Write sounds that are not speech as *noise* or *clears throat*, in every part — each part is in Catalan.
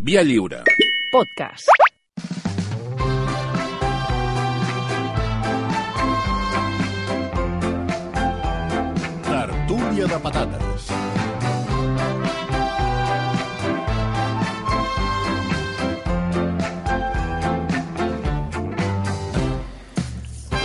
Via lliure. Podcast. Tertúlia de patates.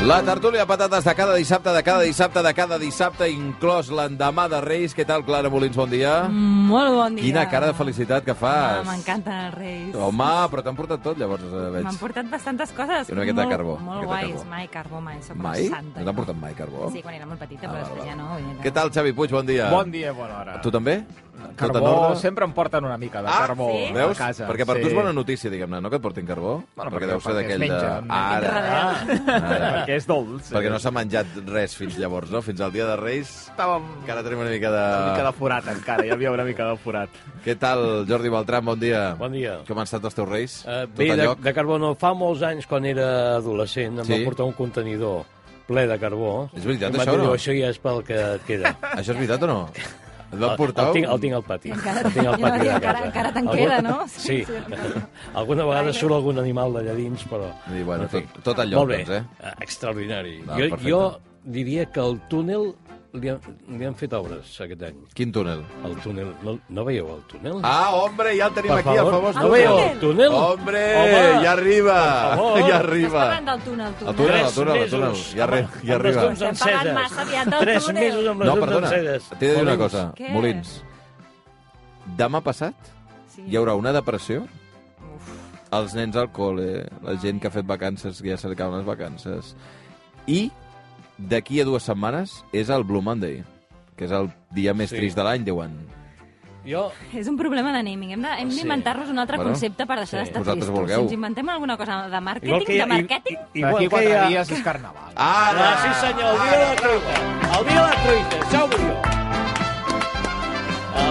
La tertúlia de patates de cada dissabte, de cada dissabte, de cada dissabte, inclòs l'endemà de Reis. Què tal, Clara Molins? Bon dia. Molt bon dia. Quina cara de felicitat que Ah, fas. M'encanten els reis. Home, però t'han portat tot, llavors, eh, veig. M'han portat bastantes coses. I una miqueta de molt, carbó, una Molt miqueta de guais. carbó. Mai carbó, mai. Soc Mai? una santa. No t'han portat mai carbó? Sí, quan era molt petita, Ah, però val, després val. ja no. Ja Què tal, Xavi Puig? Bon dia. Bon dia, bona hora. Tu també? Tot Eh, en Carbó, ordre? sempre em porten una mica de Ah, carbó sí? a Veus? casa. perquè per sí. tu és bona notícia, diguem-ne, no? Que et portin carbó. Bueno, perquè perquè- deu ser perquè es d'aquell de... menja. Ara. *laughs* Ara. Perquè és dolç. eh? Perquè no s'ha menjat res fins llavors, no? Fins al dia de Reis, Estàvem que ara tenim una mica de... una mica de forat encara, hi havia una mica de forat. Què tal, Jordi Beltran? Bon dia. Bon dia. Com han estat els teus Reis? Uh, Tot bé, a de, lloc? de carbó no. Fa molts anys, quan era adolescent, em Sí? sí? va portar un contenidor ple de carbó. És veritat, I em va això, dir, no? Això ja és pel que et queda. *laughs* Això és veritat o *laughs* no? Et van portar... el, tinc, un- el tinc al pati. Encara- el *laughs* tinc al jo pati diria, de encara- casa. encara te'n Algun- queda, no? Sí. Sí, *laughs* Alguna vegada surt algun animal d'allà dins, però... I, bueno, en fi. tot- tot al lloc, Molt bé. doncs, eh? Eh, Extraordinari. Va, jo, perfecte. jo diria que el túnel li han, li han fet obres aquest any. Quin túnel? El túnel... No, no veieu el túnel? Ah, hombre, ja el tenim Per aquí, favor, el famós Oh, no veieu el túnel? Hombre, Home, ja arriba, favor. ja Estàs arriba. parlant del túnel, tu. El túnel, el Tres túnel, el mesos. túnel, ja, arri ja Amb les arriba. llums Estem parlant enceses. massa aviat del Tres túnel. mesos amb les No, llums perdona, enceses. t'he de dir una Molins. cosa, Què? Molins. Demà passat Sí. hi haurà una depressió als nens al col·le, la gent que ha fet vacances, que ja se li acaben les vacances. I d'aquí a dues setmanes és el Blue Monday, que és el dia més Sí. trist de l'any, diuen. Jo, És un problema d'aníming. Hem de- hem Sí. d'inventar-nos un altre Ah, Bueno, concepte per deixar sí. d'estar Vosaltres tristos. vulgueu. Si ens inventem alguna cosa de igual que màrqueting, hi de ha... màrqueting... i- Igual Aquí Igual que quatre hi ha... dies és carnaval. Ara! Ah, sí senyor, el dia de la truita. El dia de la truita, això vull jo.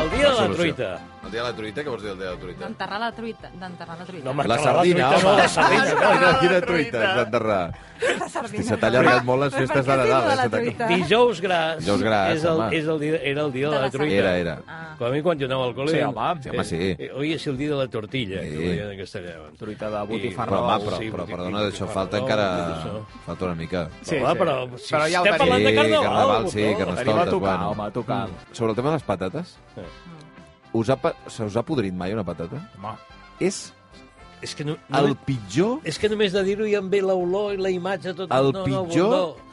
El dia de la Solució. truita. El dia de la truita, què vols dir el dia de la truita? D'enterrar la truita. D'enterrar la truita. No, home, La que sardina, truita, home. no, la *laughs* sardina. No, no, quina truita és d'enterrar. la Hosti, sardina. se t'ha allargat *laughs* molt les festes de Per què Nadal. diu de eh? la Se t'ha- truita? Dijous gras, Dijous gras, és el, home. és el dia, era el dia de, De la la truita. sardina. Era, era. Ah. Com a mi quan jo anava al col·le... Sí, home. Sí, home, sí. eh, Oi, és el dia de la tortilla, Sí. que ho deien en castellà. abans. Truita de I- botifarra. Però, home, Nadal, però, sí, però botifarra, perdona, d'això falta botifarra, encara... tot això. Falta una mica. Sí, home, sí. però si Però ja el estem tenim. parlant de carnaval, carnaval, sí, no? carnaval. Anem a tocar, bueno. home, a tocar. Sobre el tema de les patates, Sí. us ha, pa- se us ha podrit mai una patata? Home, És És que no, no, el pitjor És que només de dir-ho ja em ve l'olor i la imatge tot... El no, pitjor No, no.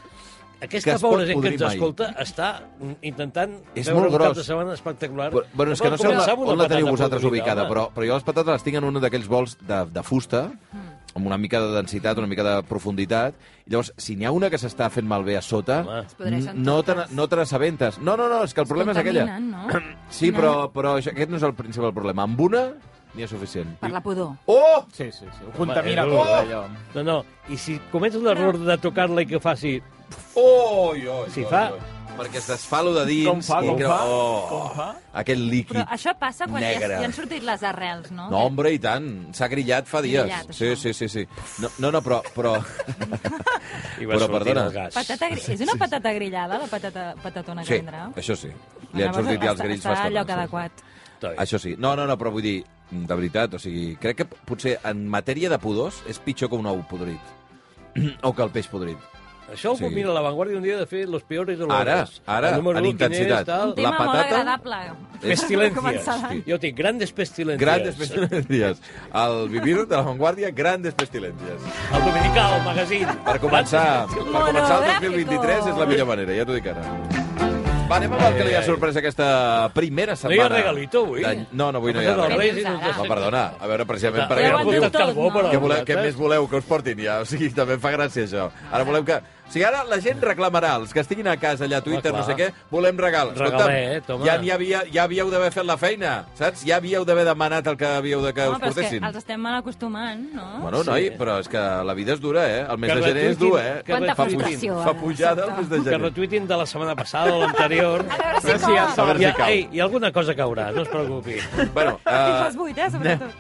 que Aquesta es pot pobra gent que podrir ens mai. escolta està intentant És veure molt un cap gros. de setmana espectacular. Però, bueno, és que no sé on la, començar amb una on la patata teniu vosaltres podrida, ubicada, home. però, però jo les patates les tinc en un d'aquells bols de, de fusta, Mm. amb una mica de densitat, una mica de profunditat. I llavors, si n'hi ha una que s'està fent malbé a sota, Home. n- Es podreixen no te totes. no te n'assabentes. No, no, no, és que el problema és aquella. Contaminen, No? Sí, però, però això- aquest no és el principal problema. Amb una n'hi ha suficient. Per la pudor. Oh! sí, sí, sí. Ho contamina Home, és eh? tot, dolç. allò. No, no, i si comets l'error de tocar-la i que faci... Oh! Oi, oi, Si oi, fa- oi. Perquè es desfà lo de dins. Com fa, i com creu- fa, Oh! com fa. Aquest líquid. Però això passa quan ja, Negre. ja han sortit les arrels, no? No, hombre, i tant. S'ha grillat fa dies. Grillat, sí, això. sí, sí, sí. No, no, no però... però... *laughs* I va Però, sortir perdona. el gas. Patata, gri- és una patata grillada, la patata, patatona que Sí, vindrà? això sí. Li han Llavors, sortit ja els està- grills Està bastant. a lloc adequat. Toi. Això sí. No, no, no, però vull dir, de veritat, o sigui, crec que potser en matèria de pudors és pitjor que un ou podrit. *clears throat* o que el peix podrit. Això ho Sí. sí. mira La Vanguardia un dia de fer los peores Ara, olores. ara, El número en u, quin és, intensitat. tal? Un tema La molt patata- agradable. Pestilències. Començar l'any. Jo tinc grandes pestilències. Grandes pestilències. El vivir de la vanguardia, grandes pestilències. El Dominical, el magazín. Per començar, per començar el Monográfico. 2023 és la millor manera, ja t'ho dic ara. Va, anem amb el que li ha ai. sorprès aquesta primera Eh. No hi setmana. ha regalito, avui? De- No, no, avui no hi ha Passat els regalito. Reis i no ens Reis. No, deixen- perdona, a veure, precisament per Ja aquest ho han motiu... dit tot, no? Què, voleu, eh? què més voleu que us portin ja? O sigui, també em fa gràcia això. Ara volem que... O sigui, ara la gent reclamarà, els que estiguin a casa, allà a Twitter, Home, no sé Ah, clar. eh, què, volem regal. Regalet, home. ja, n'hi havia, ja havíeu d'haver fet la feina, saps? Ja havíeu d'haver demanat el que havíeu de que Home, us però és que portessin. els estem mal acostumant, no? Bueno, Sí. noi, però és que la vida és dura, eh? El mes Que de gener és dur, eh? retuitin, que Quanta Fa puj- frustració, eh? Fa ara, pujada el exacte. mes de Que gener. retuitin de la setmana passada o l'anterior. *laughs* A veure si Sí, ja cau. sap- A veure Hi, si ha- cau. ei, hi ha alguna cosa caurà, no es preocupi. *laughs* *laughs* Bueno, Fins eh, les 8, eh, sobretot.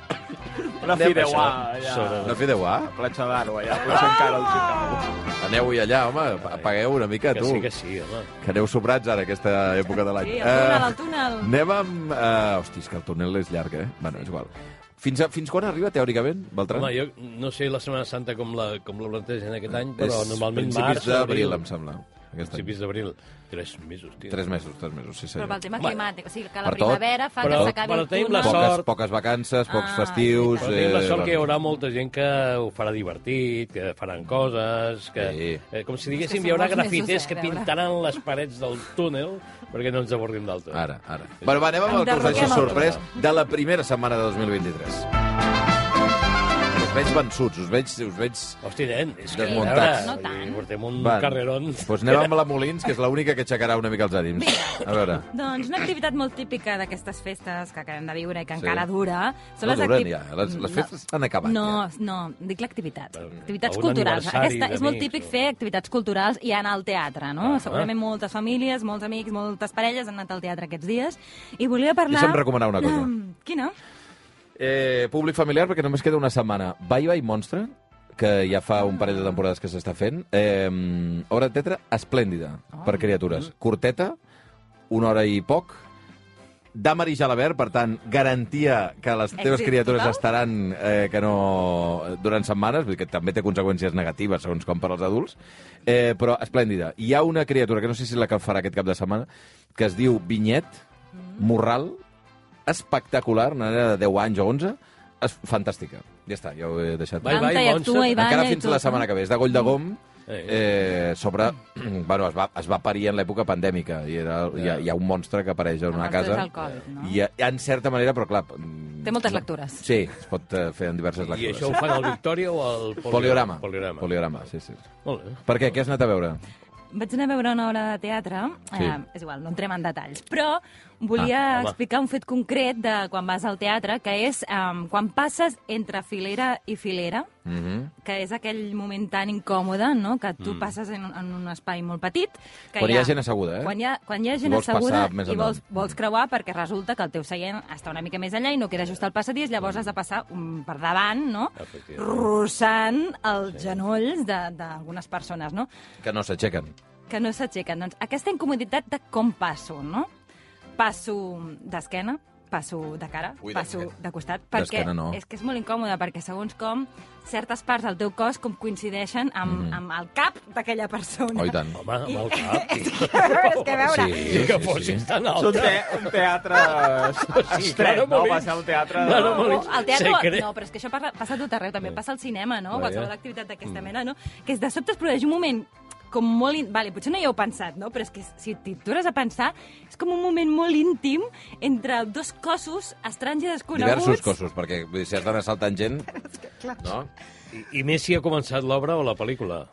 Una Anem fideuà, a això. allà. no fideu, ah? Platja d'Aro, allà. Potser encara el xicau. Aneu-hi allà, home, pa- pagueu una mica, Que tu. sí, que sí, home. Que aneu sobrats ara, aquesta època de l'any. Eh, Sí, el túnel, el túnel. anem amb... Uh, hosti, és que el túnel és llarg, eh? Bueno, és igual. Fins, a, fins quan arriba, teòricament, Beltran? Home, jo no sé la Setmana Santa com la, com la plantegen aquest any, però és normalment principis març, d'abril, em sembla. Aquest any. Principis d'abril. Tres mesos, tio. Tres mesos, tres mesos, sí Però senyor. pel tema Bueno, climàtic, o sigui, que la per tot, primavera fa però- que s'acabi però el tenim la túnel. sort. Poques, poques vacances, pocs Ah, festius... sí, Però tenim la eh, sort que hi bueno. haurà molta gent que ho farà divertit, que faran coses, que... Sí. Eh, com si És que diguéssim, són hi haurà molts mesos, grafiters eh, que a veure. pintaran les parets del túnel perquè no ens avorrim del tot. Ara, ara. Bueno, va, anem amb el que us ha Enderroquem deixat el sorprès de la primera setmana de 2023. Us veig vençuts, us veig... Us veig... Hòstia, nen, és que... Desmuntats. a veure, No tant. i Portem un Va, carrerón... Doncs anem amb la Molins, que és l'única que aixecarà una mica els ànims. A veure, Doncs una activitat molt típica d'aquestes festes que acabem de viure i que Sí. encara dura... Són no les duren acti- ja, eh? les, les festes s'han acabat No, ja. no, dic l'activitat. Bueno, Activitats algun culturals. aniversari Aquesta és molt d'amics, típic o- fer activitats culturals i anar al teatre, no? Ah, Segurament moltes famílies, molts amics, moltes parelles han anat al teatre aquests dies i volia parlar... Deixa'm recomanar una cosa. Mm, *clears throat* Quina? Eh, públic familiar, perquè només queda una setmana. Bye Bye Monstre, que ja fa un parell de temporades que s'està fent. Eh, obra de teatre esplèndida Oh. per criatures. Corteta, una hora i poc, Dàmer i Jalabert, per tant, garantia que les teves Èxit criatures total? estaran eh, que no durant setmanes, vull dir que també té conseqüències negatives, segons com per als adults, eh, però esplèndida. Hi ha una criatura, que no sé si és la que farà aquest cap de setmana, que es diu Vinyet, Morral, espectacular, una nena de 10 anys o 11, és fantàstica. Ja està, ja ho he deixat. Bye, Canta bye, i actua Montse. i balla Encara i fins tot. la setmana que ve. És de Goll de Gom, Eh. eh, sobre... *clears throat* bueno, es va, es va parir en l'època pandèmica i era, hi, ha, hi ha un monstre que apareix en una Abans casa. del Covid, no? I, eh, en certa manera, però clar... mm, Té moltes lectures. Sí, es pot eh, fer en diverses I lectures. això ho fan al Victòria o al polio- Poliorama. Poliorama. Poliorama, sí, sí. Molt bé. Per què? Què has anat a veure? Vaig anar a veure una obra de teatre, Sí. eh, és igual, no entrem en detalls, però volia Ah, home. explicar un fet concret de quan vas al teatre, que és eh, quan passes entre filera i filera, Mm -hmm. que és aquell moment tan incòmode, no?, que tu passes en, un- en un espai molt petit... Que Mm. Quan hi ha gent asseguda, eh? Quan hi ha, quan hi ha gent vols passar asseguda més i vols, endavant. vols creuar perquè resulta que el teu seient està una mica més enllà i no queda just al passadís, Mm. llavors has de passar un, per davant, no?, Efectivament. russant els genolls de- d'algunes persones, no? Que no s'aixequen. que no s'aixequen. Doncs aquesta incomoditat de com passo, no? Passo d'esquena, passo de cara, Ui, passo d'esquena. de costat, perquè D'esquena no. és que és molt incòmode, perquè segons com certes parts del teu cos com coincideixen amb, mm -hmm. amb el cap d'aquella persona. Oh, i tant. Home, amb el cap. *laughs* és que, a veure, és que a veure... eh, Sí, Sí, que sí, fossis sí. tan És un, alta. te un teatre estret, claro, no? Molins. Va ser un teatre... No, no, No, Molins. o al teatre... Se cre- No, però és que això parla, passa a tot arreu, també passa al cinema, no? Vaja. Qualsevol activitat d'aquesta Mm. mena, no? Que és de sobte es produeix un moment com molt... In... Vale, potser no hi heu pensat, no? Però és que si t'hi dures a pensar, és com un moment molt íntim entre dos cossos estranys i desconeguts. Diversos cossos, perquè vull dir, si has d'anar saltant gent... No? I, I més si ha començat l'obra o la pel·lícula.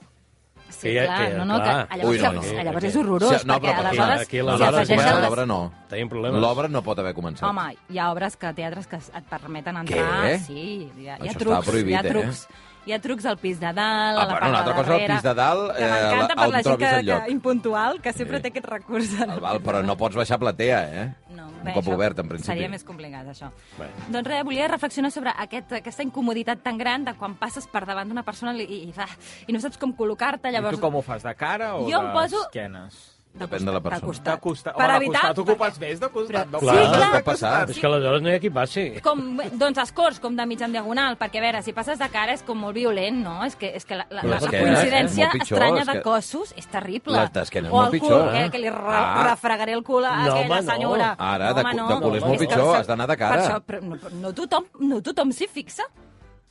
Sí, Que ja- clar, que- no, no, clar. que llavors, Ui, no, no. llavors és horrorós, Sí, no, perquè però aquí- aleshores... aquí s'hi aleshores Aleshores, afegeixen comença les- l'obra no. Tenim problemes. L'obra no pot haver començat. Home, hi ha obres que, teatres que et permeten entrar, Què? sí, hi ha, hi ha Això està trucs, prohibit, hi ha eh? trucs. Hi ha trucs al pis de dalt, Ah, a la bueno, part una altra de cosa, al darrere... pis de dalt, que eh, la- m'encanta per on la gent trobis que, el lloc. que impuntual, que sempre té aquest recurs. El val, però no pots baixar platea, eh? No, un cop això obert, en principi. Seria més complicat, això. Bé. Doncs res, volia reflexionar sobre aquest, aquesta incomoditat tan gran de quan passes per davant d'una persona i, i, ah, i no saps com col·locar-te, I llavors... tu com ho fas, de cara o Jo em poso- d'esquenes? Depèn de la persona. De costat. Per home, evitar... de costat ocupes més de costat. No Clar, Clar, clar. de Pot passar. costat. És que aleshores no hi ha qui passi. com, doncs els cors, com de mitja en diagonal, perquè a veure, si passes de cara és com molt violent, no? És que, és que la, la, Però la, és que és coincidència molt pitjor, estranya és de que- cossos és terrible. Les d'esquena és o molt el pitjor, cul, eh? que, que li re, Ah. refregaré el cul a No, aquella home, no. senyora. Ara, de home, cu- de cul és molt que pitjor, se- has d'anar de cara. Per això, però no, però no, tothom, no tothom s'hi fixa.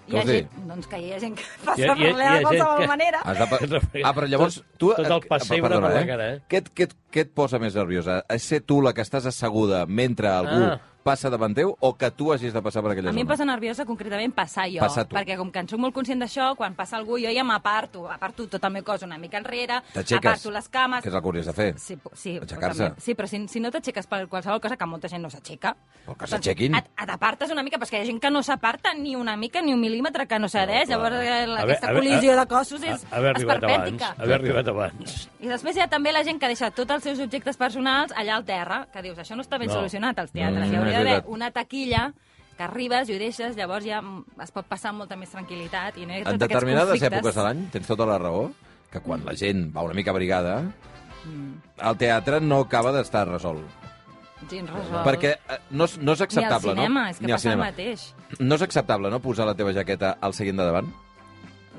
Hi Què ha vols dir? gent, doncs que hi ha gent que *laughs* passa Hi ha- per hi ha- hi ha la de gent qualsevol que- manera. Has de... *laughs* pa- Ah, però llavors... Tot- tu... tot el pessebre Ah, perdona, per la eh? cara, eh? Què, et- què, et- què et posa més nerviosa? És ser tu la que estàs asseguda mentre algú Ah. passa davant teu o que tu hagis de passar per aquella A mi em zona? passa nerviosa concretament passar jo, Passar tu. perquè com que en soc molt conscient d'això, quan passa algú jo ja m'aparto, aparto tot el meu cos una mica enrere, T'aixeques, aparto les cames... que és el que hauries de fer. Sí, po- sí, Aixecar-se. però també- Sí, però si, si no t'aixeques per qualsevol cosa, que molta gent no s'aixeca... Però que s'aixequin. Doncs Et, et apartes una mica, però és que hi ha gent que no s'aparta ni una mica, ni un mil·límetre, que no cedeix. clar. Llavors, eh, la- Haver- aquesta haver- col·lisió ha- de cossos és, ha- Haver és arribat abans. perpètica. Haver arribat abans. I després hi ha també la gent que deixa tots els seus objectes personals allà al terra, que dius, això no està ben No. solucionat als teatres. Mm, Mm, hi és hauria d'haver veritat. una taquilla que arribes i ho deixes, llavors ja mm, es pot passar amb molta més tranquil·litat. I no hi ha En tots aquests determinades conflictes. èpoques de l'any, tens tota la raó, que quan Mm. la gent va una mica abrigada, el teatre no acaba d'estar resolt. Gens resolt. Perquè eh, no, és- no és Ah. Ni al acceptable, cinema, no? és que passa el mateix. No és acceptable, no?, posar la teva jaqueta al seient de davant.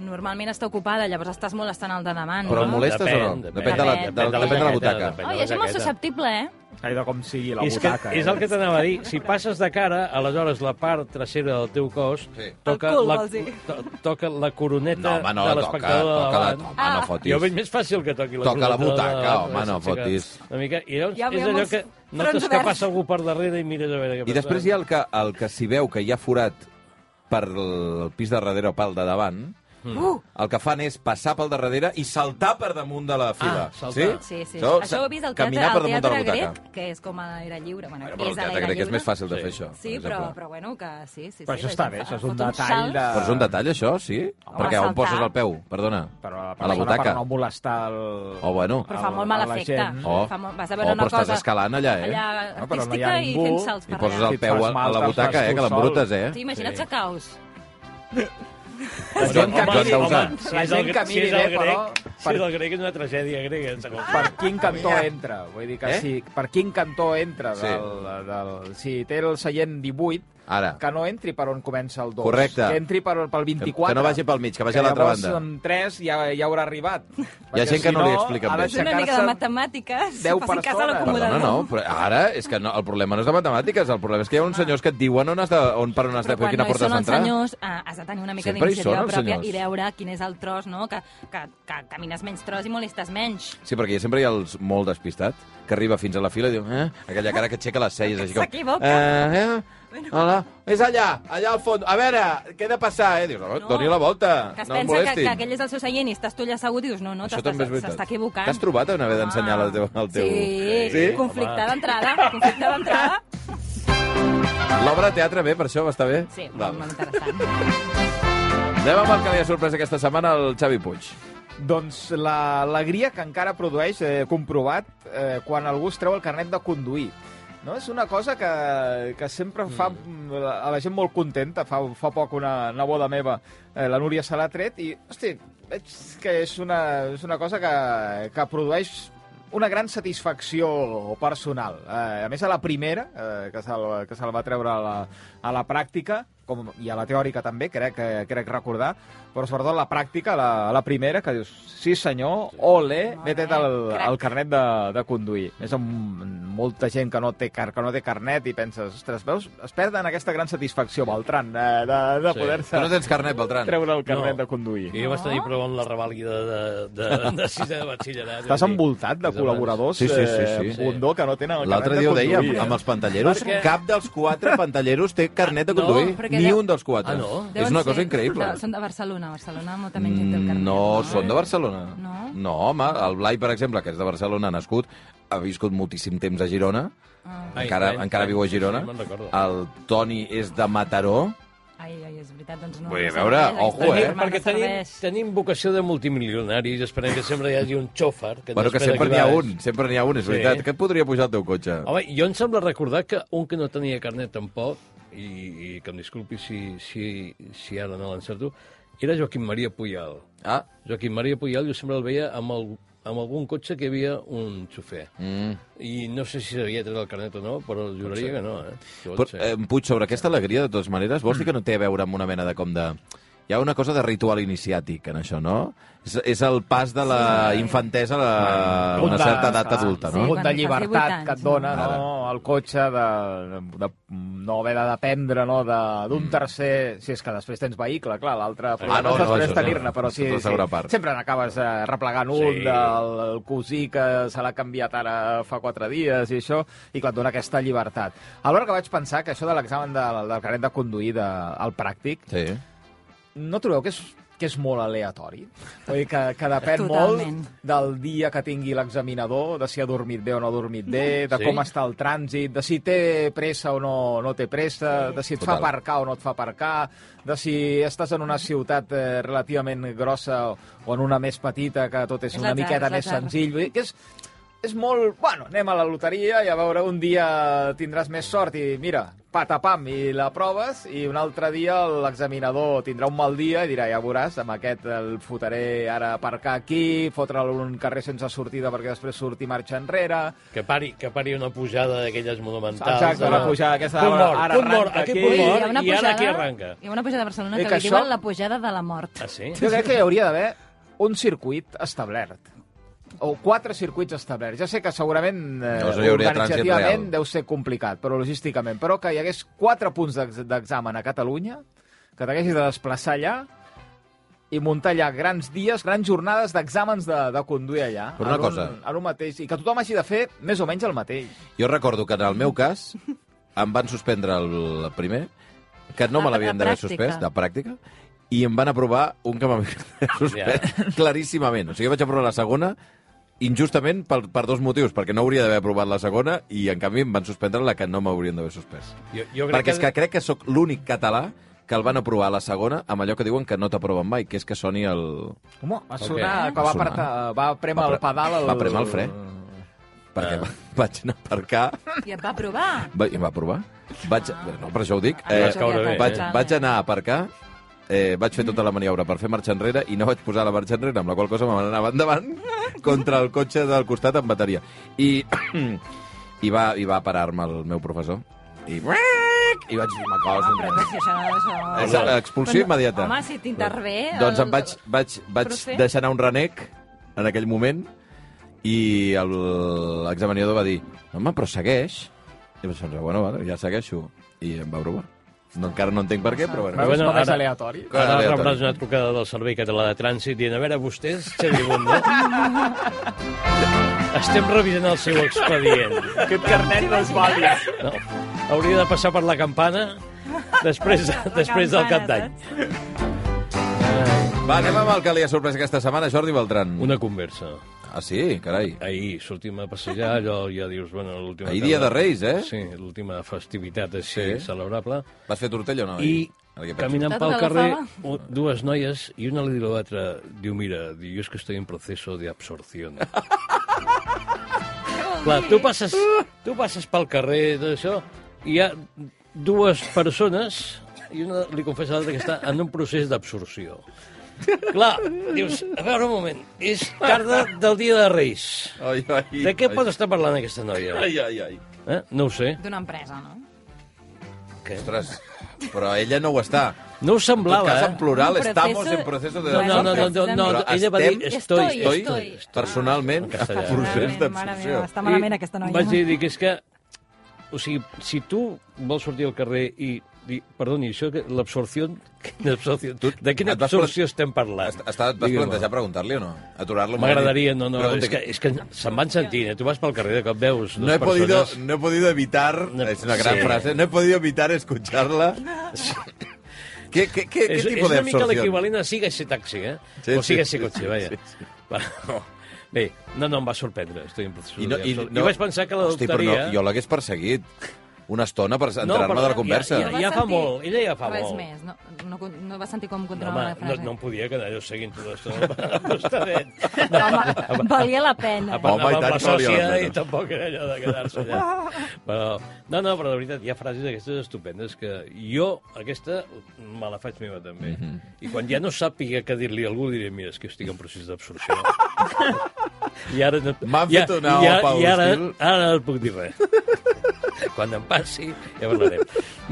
Normalment està ocupada, llavors estàs molestant el de davant, Però no? molestes Depèn, o no? depèn. Depèn de la, de, Depèn. Depèn de la depèn de la jaqueta, butaca. depèn. Ai, la és molt jaqueta. susceptible, eh? Ai, de com sigui la és, que, butaca. eh? és el que t'anava a dir. Si passes de cara, aleshores la part tracera del teu cos Sí. toca, El cul, la, vols dir. to, toca la coroneta No, home, no, de toca, l'espectador toca de la... davant. Home, Ah. no Jo veig fotis. més fàcil que toqui la Toca la coroneta de butaca, davant, home, no sense que- fotis. Una mica. I llavors Ja és veiem allò els que fronts notes que oberts. passa algú per darrere i mires a veure què I després hi ha el que, el que si veu que hi ha forat per el pis de darrere o pel de davant, Mm. Uh! el que fan és passar pel de darrere i saltar per damunt de la fila. Ah, saltar. Sí, sí. Això, això ho he vist al teatre, Caminar per al damunt de la teatre butaca. grec, que és com a l'aire lliure. Bueno, Bueno, però el és a teatre l'aire grec és lliure. més fàcil de Sí. fer això. Sí, per però, exemple. però bueno, que sí, sí. Però sí, això la està gent bé, fa- això és fot un detall salt. de... Però és un detall, això, sí? Perquè on saltar. poses el peu? Perdona. Però la a la persona per butaca. Oh. no molestar el... O bueno. Però fa a- molt a mal la efecte. gent. Oh, Fa molt... Vas a oh veure però una cosa... estàs escalant allà, eh? Allà No, però no hi ha artística i ningú, fent salts I per poses allà. el Si et peu fas a, a mal, la te'ls butaca, fas eh? tu Que l'embrutes, eh? Sí, imagina't Sí. que caus. Però, gent que miri, home, si la és gent el, que si miri és el bé, grec, però- si és el grec és una tragèdia grega. segons. Per quin Ah, cantó entra? Vull dir que Eh? si, per quin cantó entra? Sí. Del, del, si té el seient 18, Ara. que no entri per on comença el 2. Correcte. Que entri per, pel 24. Que no vagi pel mig, que vagi a l'altra llavors banda. amb 3 ja, ja haurà arribat. Hi ha gent que no li expliquen bé. bé. És una mica de matemàtiques. deu Facin cas a persones. l'acomodador. Perdona, no, però ara és que no, el problema no és de matemàtiques, el problema és que hi ha uns senyors que et diuen on has de, on, per on has de, Ah. per Però quan quina no hi porta són has els d'entrar. senyors, eh, has de tenir una mica Sempre hi són d'iniciativa els pròpia senyors. i veure quin és el tros, no? Que, que, que camines menys tros i molestes menys. Sí, perquè sempre hi ha els molt despistat, que arriba fins a la fila i diu, eh? Aquella cara que aixeca les celles. així com, S'equivoca. Eh, eh? Hola. És allà, allà al fons. A veure, què he de passar, eh? Dius, no. No. doni la volta, Que es no em pensa que, molestin. que aquell és el seu seient i estàs tu allà assegut i dius, no, no, Això t'estàs- també és veritat. s'està equivocant. T'has trobat en haver d'ensenyar Ah. el teu- el teu- Sí, Sí? sí? conflicte Home. d'entrada, conflicte d'entrada. L'obra de teatre bé, per això va estar bé? Sí, Val. molt, molt interessant. Anem amb el que li ha sorprès aquesta setmana al Xavi Puig. Doncs l'alegria que encara produeix, eh, comprovat, eh, quan algú es treu el carnet de conduir. No? És una cosa que, que sempre fa mm. a la gent molt contenta. Fa, fa poc una neboda meva, eh, la Núria, se l'ha tret i, hosti, veig que és una, és una cosa que, que produeix una gran satisfacció personal. Eh, a més, a la primera, eh, que se'l que se va treure a la, a la pràctica, com, i a la teòrica també, crec, eh, crec recordar, però sobretot a la pràctica, a la, a la primera, que dius, sí senyor, ole, m'he tret el, el carnet de, de conduir. És amb molta gent que no, té car, que no té carnet i penses, ostres, veus, es perden aquesta gran satisfacció, Beltran, de, de, de Sí. Tu poder-se no tens carnet, Beltran? treure el carnet No. de conduir. Jo vaig tenir prou en la revàlida de, de, de, de sisè de batxillerat. Estàs envoltat de Més o col·laboradors Sí, sí, sí, sí. Eh, bondó que no tenen el L'altre carnet dia de ho conduir. eh? dèiem, eh? amb els pantalleros, Perquè- cap dels quatre pantalleros té carnet de No, conduir. perquè Ni deu- un dels quatre. Ah, no? És Deuen una ser- cosa increïble. De, Doncs són de Barcelona, Barcelona molta menys gent té el Mm, carnet. No, són de Barcelona. No? No, home, el Blai, per exemple, que és de Barcelona, nascut, ha viscut moltíssim temps a Girona, Ah. Ai, encara, ai, encara ai, viu a sí, sí, Girona. me'n recordo. El Toni és de Mataró. Ai, ai, és veritat, doncs no. Vull dir, no a veure, serveix, la ojo, història eh? romana Perquè tenim, serveix. tenim vocació de multimilionaris, esperem que sempre hi hagi un xòfer. Que ens Bueno, que espera sempre aquí n'hi ha baix. un, sempre n'hi ha un, és Sí. veritat. Que et podria pujar el teu cotxe? Home, jo em sembla recordar que un que no tenia carnet tampoc, i, i que em disculpi si, si, si ara no l'encerto, era Joaquim Maria Puyal. Ah, Joaquim Maria Puyal jo sempre el veia amb, el, amb algun cotxe que hi havia un xofer. Mm. I no sé si s'havia tret el carnet o no, però juraria que no, eh? Pot Però, ser. eh, Puig, sobre aquesta alegria, de totes maneres, vols dir que no té a veure amb una mena de com de... Hi ha una cosa de ritual iniciàtic en això, no? És, és el pas de la infantesa a la, a una certa edat ah, adulta, Un no? punt quan de fas llibertat 18 anys, que et dona no? no? el cotxe de, de, no haver de dependre no? de- d'un tercer... Si és que després tens vehicle, clar, l'altre... Mm. Ah, no, no, després això no. tenir-ne, però sí, Això és la sí. segona part. Sempre n'acabes eh, replegant un Sí. del cosí que se l'ha canviat ara fa quatre dies i això, i clar, et dona aquesta llibertat. Alhora que vaig pensar que això de l'examen del, del carnet de conduir de, al pràctic, Sí. no trobeu que és, que és molt aleatori? Vull dir que, que depèn Totalment. molt del dia que tingui l'examinador, de si ha dormit bé o no ha dormit bé, de Sí. sí. com està el trànsit, de si té pressa o no, no té pressa, sí. de si et Total. fa aparcar o no et fa aparcar, de si estàs en una ciutat eh, relativament grossa o en una més petita que tot és, És una l'atzar, miqueta és més l'atzar. senzill. Vull dir que és és molt... Bueno, anem a la loteria i a veure, un dia tindràs més sort i mira, patapam, i la proves i un altre dia l'examinador tindrà un mal dia i dirà, ja veuràs, amb aquest el fotré ara a aparcar aquí, fotre'l en un carrer sense sortida perquè després surti marxa enrere... Que pari, que pari una pujada d'aquelles monumentals. Exacte, no? una pujada aquesta de, Punt mort, ara punt mort, arranca aquí aquí. punt Ui, mort. hi ha una I ara pujada, aquí arranca. Hi ha una pujada a Barcelona Eh, que, que li diuen això- la pujada de la mort. Ah, sí? Jo crec que hi hauria d'haver un circuit establert o quatre circuits establerts. Ja sé que segurament eh, Llavors no hi hauria trànsit organitzativament real. deu ser complicat, però logísticament. Però que hi hagués quatre punts d'ex- d'examen a Catalunya, que t'haguessis de desplaçar allà i muntar allà grans dies, grans jornades d'exàmens de, de conduir allà. Però una en cosa. Un, en un mateix, I que tothom hagi de fer més o menys el mateix. Jo recordo que en el meu cas em van suspendre el primer, que no La- me la l'havien d'haver pràctica. suspès, de pràctica, i em van aprovar un que m'havien *laughs* suspès claríssimament. O sigui, jo vaig aprovar la segona injustament per, per dos motius, perquè no hauria d'haver aprovat la segona i, en canvi, em van suspendre la que no m'haurien d'haver suspès. Jo, jo crec Perquè és que crec que sóc l'únic català que el van aprovar a la segona amb allò que diuen que no t'aproven mai, que és que soni el... Home, va sonar, Ok. okay. que va, Va sonar. apretar, va Va prémer pre- el pedal... El... va prémer el fre. Perquè *laughs* Ah. ah. vaig anar a aparcar I et va provar. va, i em va aprovar. Vaig, no, per això ho dic. Eh, vas caure bé, vaig, vaig anar a aparcar, eh, vaig fer tota la maniobra per fer marxa enrere i no vaig posar la marxa enrere, amb la qual cosa me n'anava endavant *laughs* contra el cotxe del costat amb bateria. I, *clears throat* i va, i va parar-me el meu professor. I, i vaig dir, me cago en Ah, Però la- no, si això, això... Ex- Expulsió Però no- immediata. Home, si t'intervé... Doncs em Eh, el- vaig, vaig, vaig procés. deixar anar un renec en aquell moment i el- l'examinador va dir home, però segueix. I vaig pensar, "Doncs, bueno, vale, ja segueixo. I em va provar. No, encara no entenc per què, però bueno. Veus Bueno, bueno, com és ara- aleatori? Ara Aleatori. rebràs una trucada del Servei Català de Trànsit dient, a veure, vostès, Xavier Bundó, estem revisant el seu expedient. Aquest carnet no és vàlid. No? Hauria de passar per la campana després, *laughs* després del cap d'any. Va, anem amb el que li ha sorprès aquesta setmana, Jordi Beltran. Una conversa. Ah, sí? Carai. Ahir sortim a passejar, allò ja dius, bueno, l'última... Ahir dia tarda- de Reis, eh? Sí, l'última festivitat així Sí. celebrable. Vas fer tortell o no? I Ara què penses? caminant Estàs pel a la carrer, sala? u- dues noies, i una li diu a l'altra, diu, mira, diu, jo és que estoy en proceso de absorción. Clar, tu passes, tu passes pel carrer, tot això, i hi ha dues persones, i una li confessa a l'altra que està en un procés d'absorció. Clar, dius, a veure un moment, és tarda del dia de Reis. Ai, ai, De què ai. pot estar parlant aquesta noia? Ai, ai, ai. Eh? No ho sé. D'una empresa, no? Què? Ostres, però ella no ho està. No En ho tot semblava, cas, eh? en plural, Un proceso- estamos en proceso de... No, no, no, no, no, no, Però ella va dir, estem- estoy, Estoy, estoy, estoy. estoy. personalment En castellà. en procés Mare meva, mare d'absorció. meva, està malament aquesta noia. Vaig dir, dic, és que... O sigui, si tu vols sortir al carrer i dir, perdoni, això, que- l'absorció... quina absorció- De quina et vas absorció estem parlant? Està, està, et vas Digue'm. plantejar preguntar-li o no? Aturar-lo? un M'agradaria, moment i- no, no, Pregunta és que, qui- és que se'n van sentint, eh? Tu vas pel carrer de cop veus No he, dues persones... podido, no he podido evitar... No- és una gran sí. frase. No he podido evitar escucharla. ¿Qué, qué, qué, qué és, tipo és de una mica absorción? l'equivalent a siga ese taxi, eh? Sí, o siga sí, ese cotxe, sí, vaja. sí, Però, *laughs* Bé, no, no, em va sorprendre. Estoy en proceso I no- de i absorció. no- Jo vaig pensar que la Hosti, però adoptaria... no, jo l'hagués perseguit una estona per enterar-me però- de la conversa. Ja- ja- vas fa sentir molt, ella ja fa res molt. Res més, no, no, no va sentir com No, continuava home, la no, frase. no em podia quedar jo seguint tot això. *laughs* Estadet. Home, *laughs* valia la pena. A part, Home, i amb tant la que valia la sòcia pena. i tampoc era allò de quedar-se *laughs* allà. Però, no, no, però de veritat, hi ha frases aquestes estupendes que jo, aquesta, me la faig meva també. Mhm. Mm -hmm. I quan ja no sàpiga què dir-li a algú, diré, mira, és que estic en *laughs* procés d'absorció. I ara... No, M'han i a- fet una i a- opa I ara, hostil. ara no et puc dir res. *laughs* quan em passi, ja parlarem.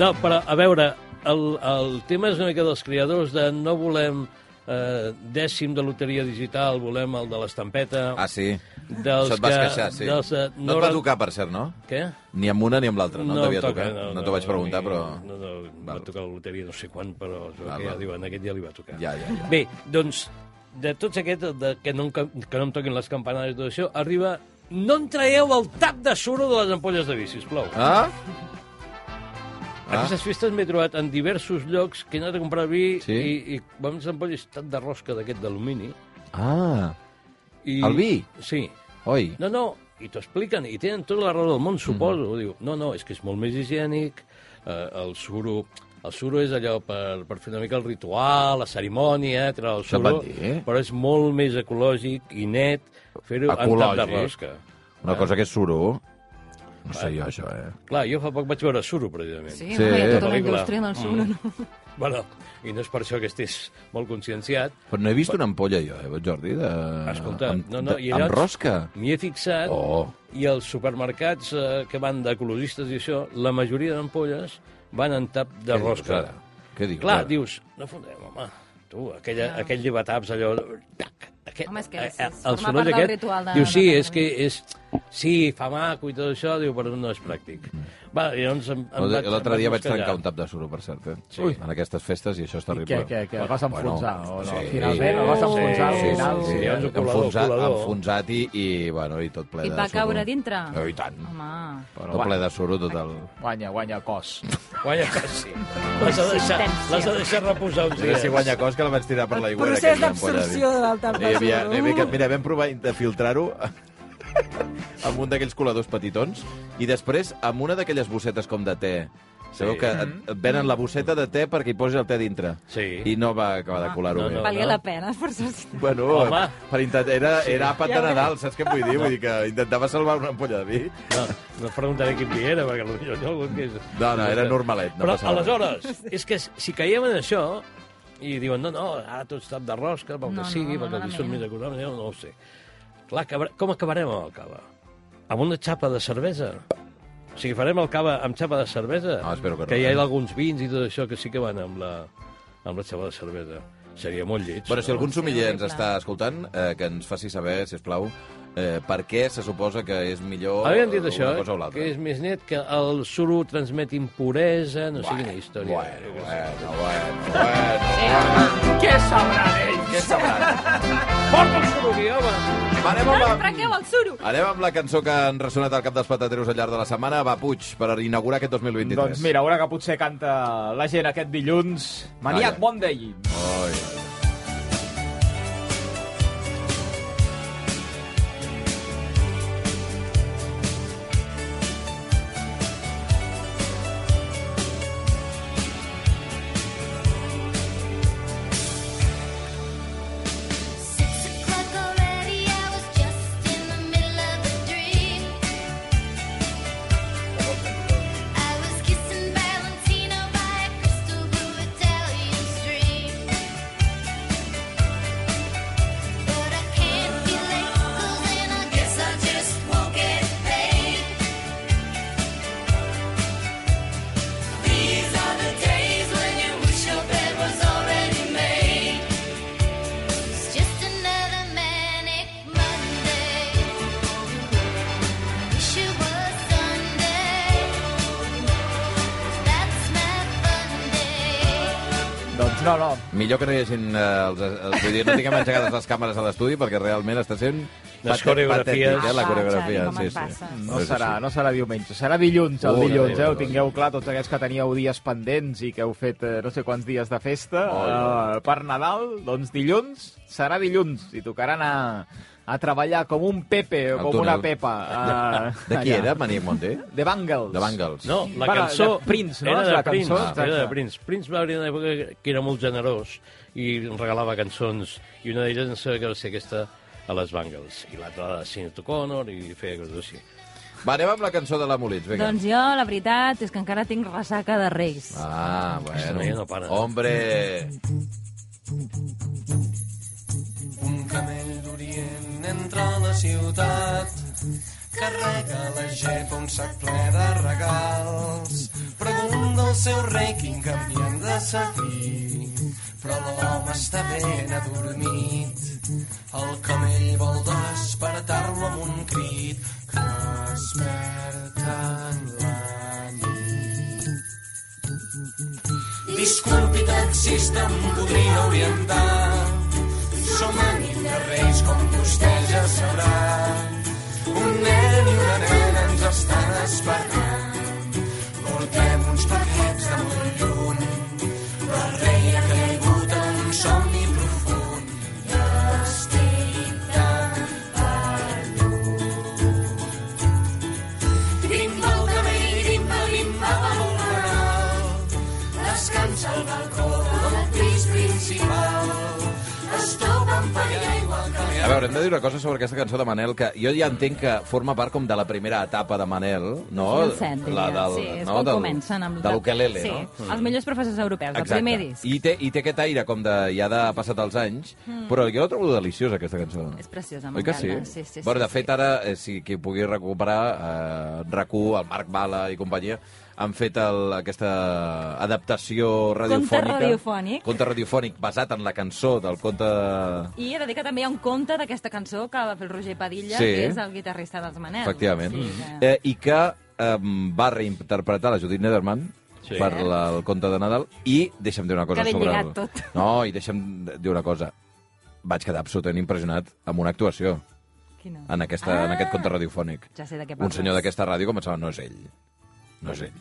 No, però, a veure, el, el tema és una mica dels creadors de no volem eh, dècim de loteria digital, volem el de l'estampeta Ah, sí. dels Això et vas que- queixar, sí. dels, eh, no et va Nora- tocar, per cert, no? Què? Ni amb una ni amb l'altra, no, em t'havia tocat. no, no t'ho vaig a preguntar, mi però... No, no, em va Val. tocar la loteria no sé quan, però es veu Val, que ja val. diuen, aquest dia li va tocar. Ja, ja, ja. Bé, doncs, de tots aquests, el de, que, no, em ca- que no em toquin les campanades i tot això, arriba... No en traieu el tap de suro de les ampolles de vi, sisplau. Ah. Ah? Aquestes festes m'he trobat en diversos llocs que he anat a comprar vi Sí? i, i vam les ampolles tant de rosca d'aquest d'alumini. Ah, I... El vi? Sí. oi. No, no, i t'ho expliquen, i tenen tota la raó del món, suposo. Mm. Diu, no, no, és que és molt més higiènic, eh, el suro... El suro és allò per, per fer una mica el ritual, la cerimònia, eh, treure el Això em suro, van dir, eh? però és molt més ecològic i net fer-ho en tap de Ecològic? rosca. Una cosa que és suro. No sé jo, això, eh? Clar, jo fa poc vaig veure Suro, precisament. Sí, Sí, sí home, hi ha tota pel·lícula. Mm. la indústria del suro, no? Bueno, i no és per això que estés molt conscienciat. Però no he vist una ampolla, jo, eh, Jordi? De... Escolta, amb, no, no, de- i allò- Amb rosca? M'hi he fixat, Oh. i els supermercats eh, que van d'ecologistes i això, la majoria d'ampolles van en tap de Què dius, rosca. ara? Què dius? Clar, ara? dius, no fotem, home, tu, aquella, aquell llevataps, allò... Tac, aquest, Home, és que eh, és- és- el forma soroll part del ritual de- diu, sí, de- és que és... Sí, fa maco i tot això, diu, però no és pràctic. Va, i llavors em, em vaig- Mm. L'altre em dia vaig buscar trencar un allà. tap de suro, per cert, eh? Sí. Ui. En aquestes festes, i això és I terrible. què, què, què? El vas enfonsar? o no? sí. eh, Finalment, el vas enfonsar al Sí, final? sí, sí, Llavors, sí. el colador, Enfonsat, colador. enfonsat i, i, bueno, i tot ple I de va suro. caure dintre? Oh, I tant. Home... Però tot ple de suro, tot el... Guanya, guanya cos. Guanya quasi. L'has de, deixar, Consistència. l'has de deixar reposar uns Sí, dies. sí, guanya cos que la vaig tirar per l'aigua. Procés d'absorció de uh. l'alta N'hi havia, n'hi havia, que- mira, vam provar de filtrar-ho *laughs* amb un d'aquells coladors petitons i després amb una d'aquelles bossetes com de te. Sabeu Sí. Mm-hmm. que et et venen la bosseta de te perquè hi posis el te dintre. Sí. I no va acabar Ah, de colar-ho No, bé. no. Valia la pena *laughs* esforçar-se. Bueno, Home. per intent... era, era àpat de Nadal, saps què em vull dir? Vull dir que intentava salvar una ampolla de vi. No, no et preguntaré quin vi era, perquè potser no algú que és... No, no, era normalet, no Però passava res. aleshores, és que si caiem en això, i diuen, no, no, ara tot està de rosca, pel No, que no, sigui, no, perquè els malament. són més econòmics, jo no ho sé. Clar, acabar- com acabarem amb el cava? Amb una xapa de cervesa? O sigui, farem el cava amb xapa de cervesa? No, Ah, espero que no. eh? Que hi ha alguns vins i tot això que sí que van amb la, amb la xapa de cervesa. Seria molt lleig. Bueno, si no? algun sumiller ens horrible. està escoltant, eh, que ens faci saber, si us plau, eh, per què se suposa que és millor Havíem dit una això, cosa o eh? l'altra. que és més net, que el suro transmet impuresa, no sé quina història. Bueno, bueno, bueno, bueno. Què sabrà d'ell? Què sabrà? Porta el suro aquí, home! Anem No, amb, la... trenqueu el suro! Anem amb la cançó que han ressonat al cap dels patateros al llarg de la setmana. Va, Puig, per inaugurar aquest 2023. Doncs mira, una que potser canta la gent aquest dilluns. Maniac Calla. Monday. Oi. Six o'clock already, I was just in the middle of a dream. I was kissing Valentino by a crystal blue Italian stream. But I can't feel echoes, and I guess I just won't get paid. These are the days when you wish your bed was already made. It's just another manic Monday. Wish it was Sunday. That's my fun day. Doncs no, no. Millor que no hi hagin... Eh, els, els, vull dir, no tinguem engegades les càmeres a l'estudi perquè realment està sent... Les patè- coreografies. patètic, eh, la Ah, coreografia. Xavi, com sí, em sí. passes. Però No és serà, així. no serà diumenge, serà dilluns, el Ui, dilluns, ui, eh? Ho ui. tingueu clar, tots aquests que teníeu dies pendents i que heu fet eh, no sé quants dies de festa Ui, eh, per Nadal, doncs dilluns serà dilluns i tocaran a, a treballar com un Pepe o Al com una túnel. Pepa. eh, De qui allà. era Maniac Monday? De Bangles. De Bangles. No, la Bueno, cançó... de Prince, no? Era És de la Prince, cançó, era de exacte. Prince. Prince va haver una època que era molt generós i regalava cançons, i una d'elles em sembla que va ser aquesta a les Bangles, i l'altra a la Sinead O'Connor, i feia coses així. Va, anem amb la cançó de la Molins, vinga. Doncs jo, la veritat, és que encara tinc ressaca de reis. Ah, bueno. noia no para. Hombre, Un camell d'orient entra a la ciutat carrega a la gepa un sac ple de regals pregunta al seu rei quin canviem de setí però l'home està ben adormit el camell vol despertar-lo amb un crit que es perd en la nit Disculpi, taxista, em podria orientar. Som ànim de reis, com vostè ja sabrà. Un nen i una nena ens estan esperant. Portem uns paquets de molt lluny, però el rei ha caigut en un somni profund. I estic tan perdut. Vimpa el camell, vimpa, vimpa, per un regal descansa al balcó del pis principal. Es topa amb paella igual que el A veure, hem de dir una cosa sobre aquesta cançó de Manel, que jo ja entenc que forma part com de la primera etapa de Manel, no? 2007, diria. sí, és quan comencen amb... de l'ukelele, sí, no? els millors professors europeus, Exacte. el primer disc. I té, I té aquest aire com de ja de passat els anys, mm. però jo la trobo deliciosa, aquesta cançó. És preciosa, Oi que m'encanta. sí? Sí, sí, bueno, sí, de fet, ara, eh, si qui ho pugui recuperar, eh, RAC1, el Marc Bala i companyia, han fet el, aquesta adaptació radiofònica. radiofònic. Conte radiofònic basat en la cançó del conte... I he de dir que també hi ha un conte d'aquesta cançó que va fer el Roger Padilla, Sí. que és el guitarrista dels Manel. Efectivament. Sí, Mm. que... Eh, I que eh, va reinterpretar la Judit Nederman sí. Sí. per la, el conte de Nadal i deixa'm dir una cosa Que ben sobre... lligat tot. No, i deixa'm dir una cosa. Vaig quedar absolutament impressionat amb una actuació Quina? en, aquesta, en aquest conte radiofònic. Ja sé de Ah. què Un parles. senyor d'aquesta ràdio començava, no és ell, no és ell.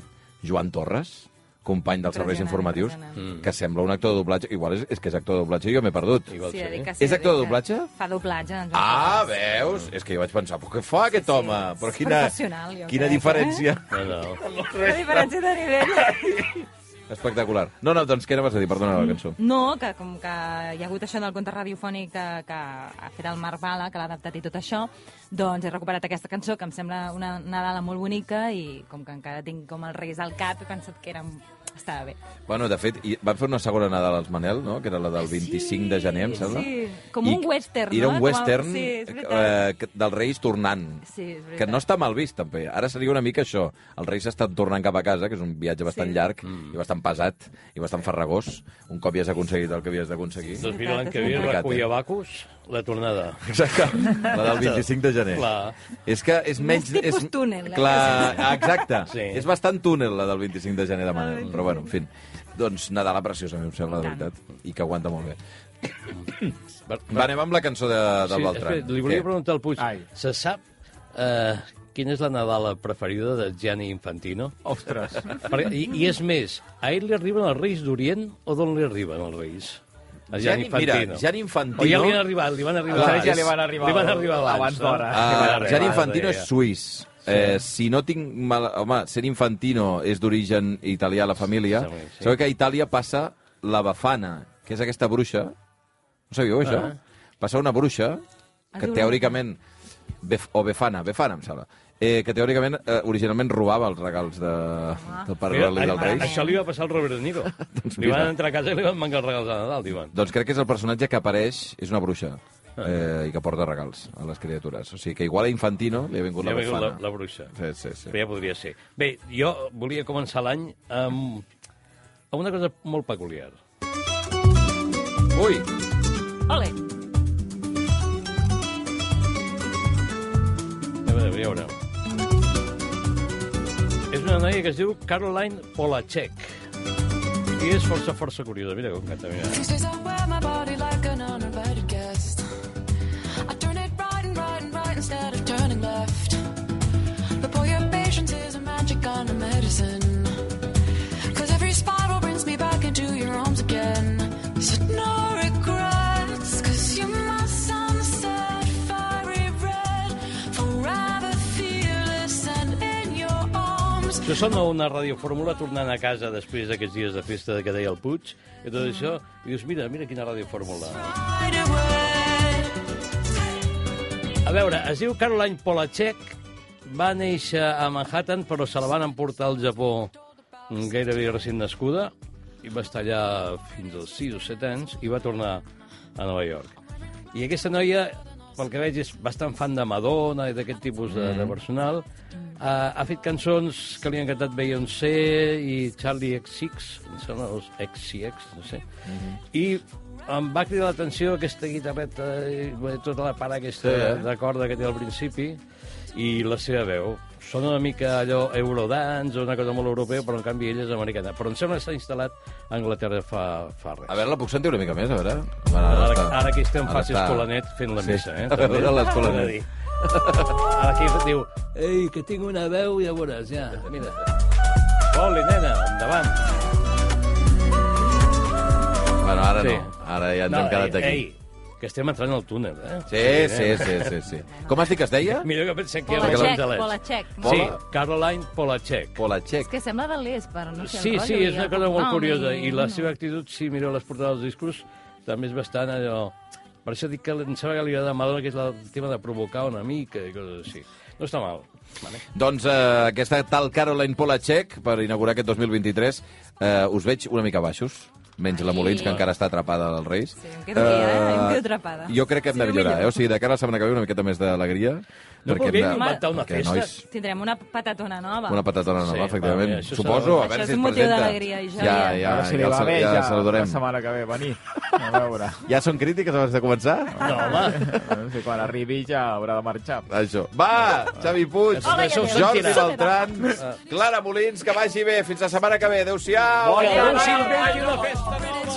Joan Torres, company dels serveis Impressionant, informatius, impressionant. que sembla un actor de doblatge. Igual és, és que és actor de doblatge, jo m'he perdut. Igual Sí, he de dir que Mm. sí, És he de actor de dir que doblatge? Fa doblatge. doncs, en Joan Ah, Torres. veus? És que jo vaig pensar, però què fa aquest sí, home? és Però quina, professional, quina jo crec, eh?" diferència. No, no. La diferència de *laughs* nivell. Espectacular. No, no, doncs què anaves a dir? Perdona la cançó. No, que com que hi ha hagut això del conte radiofònic que, que ha fet el Marc Bala, que l'ha adaptat i tot això, doncs he recuperat aquesta cançó, que em sembla una Nadala molt bonica, i com que encara tinc com els reis al cap, he pensat que era... estava bé. Bueno, de fet, i van fer una segona Nadal als Manel, no? que era la del 25 de gener, em sí, sembla. sí. Com un western, Era no? un Com a- western sí, és veritat. eh, que- dels Reis tornant. Sí, és veritat. que no està mal vist, també. Ara seria una mica això. Els Reis estan tornant cap a casa, que és un viatge bastant Sí. llarg, mm. i bastant pesat, i bastant ferragós, un cop ja has aconseguit el que havies d'aconseguir. Doncs mira, l'any que ve, Complicat, eh? recull a Bacus, la tornada. Exacte. La del 25 de gener. Clar. És que és menys... tipus és, túnel, eh? Clar, exacte. Sí. Sí. És bastant túnel, la del 25 de gener de Manel. Però bueno, en fi. Doncs Nadala preciosa, a mi em sembla, de I tant. veritat. I que aguanta molt bé. Va, Va, anem amb la cançó de, de sí, Beltran. espera, li volia Què? preguntar al Puig. Ai. Se sap eh, quina és la Nadala preferida de Gianni Infantino? Ostres. Perquè, i, I és més, a ell li arriben els reis d'Orient o d'on li arriben els reis? A Gianni- Gianni Infantino. mira, Gianni Infantino- O ja li han arribat, li van arribar Clar, abans. ja li van arribar Li van arribar abans. abans no? d'hora. Ah, Li van Gianni arribar, Infantino és deia. suís. Eh, si no tinc mal... Home, ser Infantino és d'origen italià a la família. Sí, sí. Sí. Sabeu que a Itàlia passa la bafana, que és aquesta bruixa. No sabíeu això? Ah. Passa una bruixa Es que diu teòricament... Bef, o befana, befana, em sembla. Eh, que teòricament, eh, originalment robava els regals de, del pare Mira, Loli del a- a- rei. Això li va passar al Robert De *laughs* Niro. li mira. van entrar a casa i li van mancar els regals de Nadal, diuen. Doncs crec que és el personatge que apareix, és una bruixa, eh, i que porta regals a les criatures. O sigui que igual a Infantino li ha vingut Ja la veig befana. la, la bruixa. Sí, sí, sí. Però ja podria ser. Bé, jo volia començar l'any amb, amb una cosa molt peculiar. Ui! Ole! A veure, ja veureu. És una noia que es diu Caroline Polacek. I és força, força curiosa. Mira com canta, mira. These days I wear my body like an uninvited guest. I turn it right and right and right instead of turning left. But boy, your patience is a magic kind of medicine. Cause every spiral brings me back into your arms again. So no regrets, cause you're my sunset, fiery red. Forever fearless and in your arms. Això sona a una radiofórmula tornant a casa després d'aquests dies de festa que deia el Puig i tot això, i dius, mira, mira quina radiofórmula. Right away. A veure, es diu Caroline Polacek, va néixer a Manhattan, però se la van emportar al Japó mm, gairebé recent nascuda, i va estar allà fins als 6 o 7 anys, i va tornar a Nova York. I aquesta noia, pel que veig, és bastant fan de Madonna i d'aquest tipus de, de personal. Uh, ha fet cançons que li han cantat Beyoncé i Charlie XX, em sembla, o XCX, no sé. I em va cridar l'atenció aquesta guitarreta i bé, tota la part aquesta eh? sí. de corda que té al principi i la seva veu. Sona una mica allò eurodance o una cosa molt europea, però en canvi ella és americana. Però em sembla que s'ha instal·lat a Anglaterra fa, fa res. A veure, la puc sentir una mica més, a veure? Home, Ara, està. ara aquí estem Ara facis està. Colanet fent la Sí. missa, eh? A veure També. l'Escolanet. Ho he de dir. Ara aquí diu, ei, que tinc una veu, ja veuràs, ja, mira. Oli, nena, endavant. Bueno, ara Sí. no. Ara ja ens hem quedat ei, aquí. Ei, que estem entrant al túnel, eh? Sí, sí, sí, sí, sí. Com has dit que es deia? Millor que pensem que era Polacek, l'Angelès. Polacek. no? Sí, Pola? Caroline Polacek. És Polacek. que sembla de l'est, però no sé el Sí, rotllo sí, i és una el cosa molt cognom curiosa. I la no. seva actitud, si mireu les portades dels discurs, també és bastant allò Per això dic que em sembla que li agrada a Madonna, que és la- el tema de provocar una mica i coses així. No està mal. Vale. Doncs eh, aquesta tal Caroline Polacek, per inaugurar aquest 2023, eh, us veig una mica baixos, menys la Molins, que encara està atrapada dels Reis. Sí, em quedo aquí, eh? Em quedo atrapada. Jo crec que hem de Sí, millorar, millor. eh? O sigui, de cara a la setmana que ve una miqueta més d'alegria. No perquè hem podríem de- inventar una perquè, festa? Nois, Tindrem una patatona nova. una patatona Sí, nova, va, efectivament. bé, això Suposo, serà- a Això veure és si es un motiu presenta. d'alegria, ja, ja, ja. ja, Ara si li ja, va el, bé, ja, ja, el saludarem. la setmana que ve, venir. A *laughs* veure. Ja són crítiques abans de començar? No, home. No sé, quan arribi ja haurà de marxar. Això. Va, Xavi Puig, Hola, i adéu. Jordi Sentirà. Beltran, Clara Molins, que vagi bé. Fins la setmana que ve. Adéu-siau. Adéu-siau, vagi la festa nova.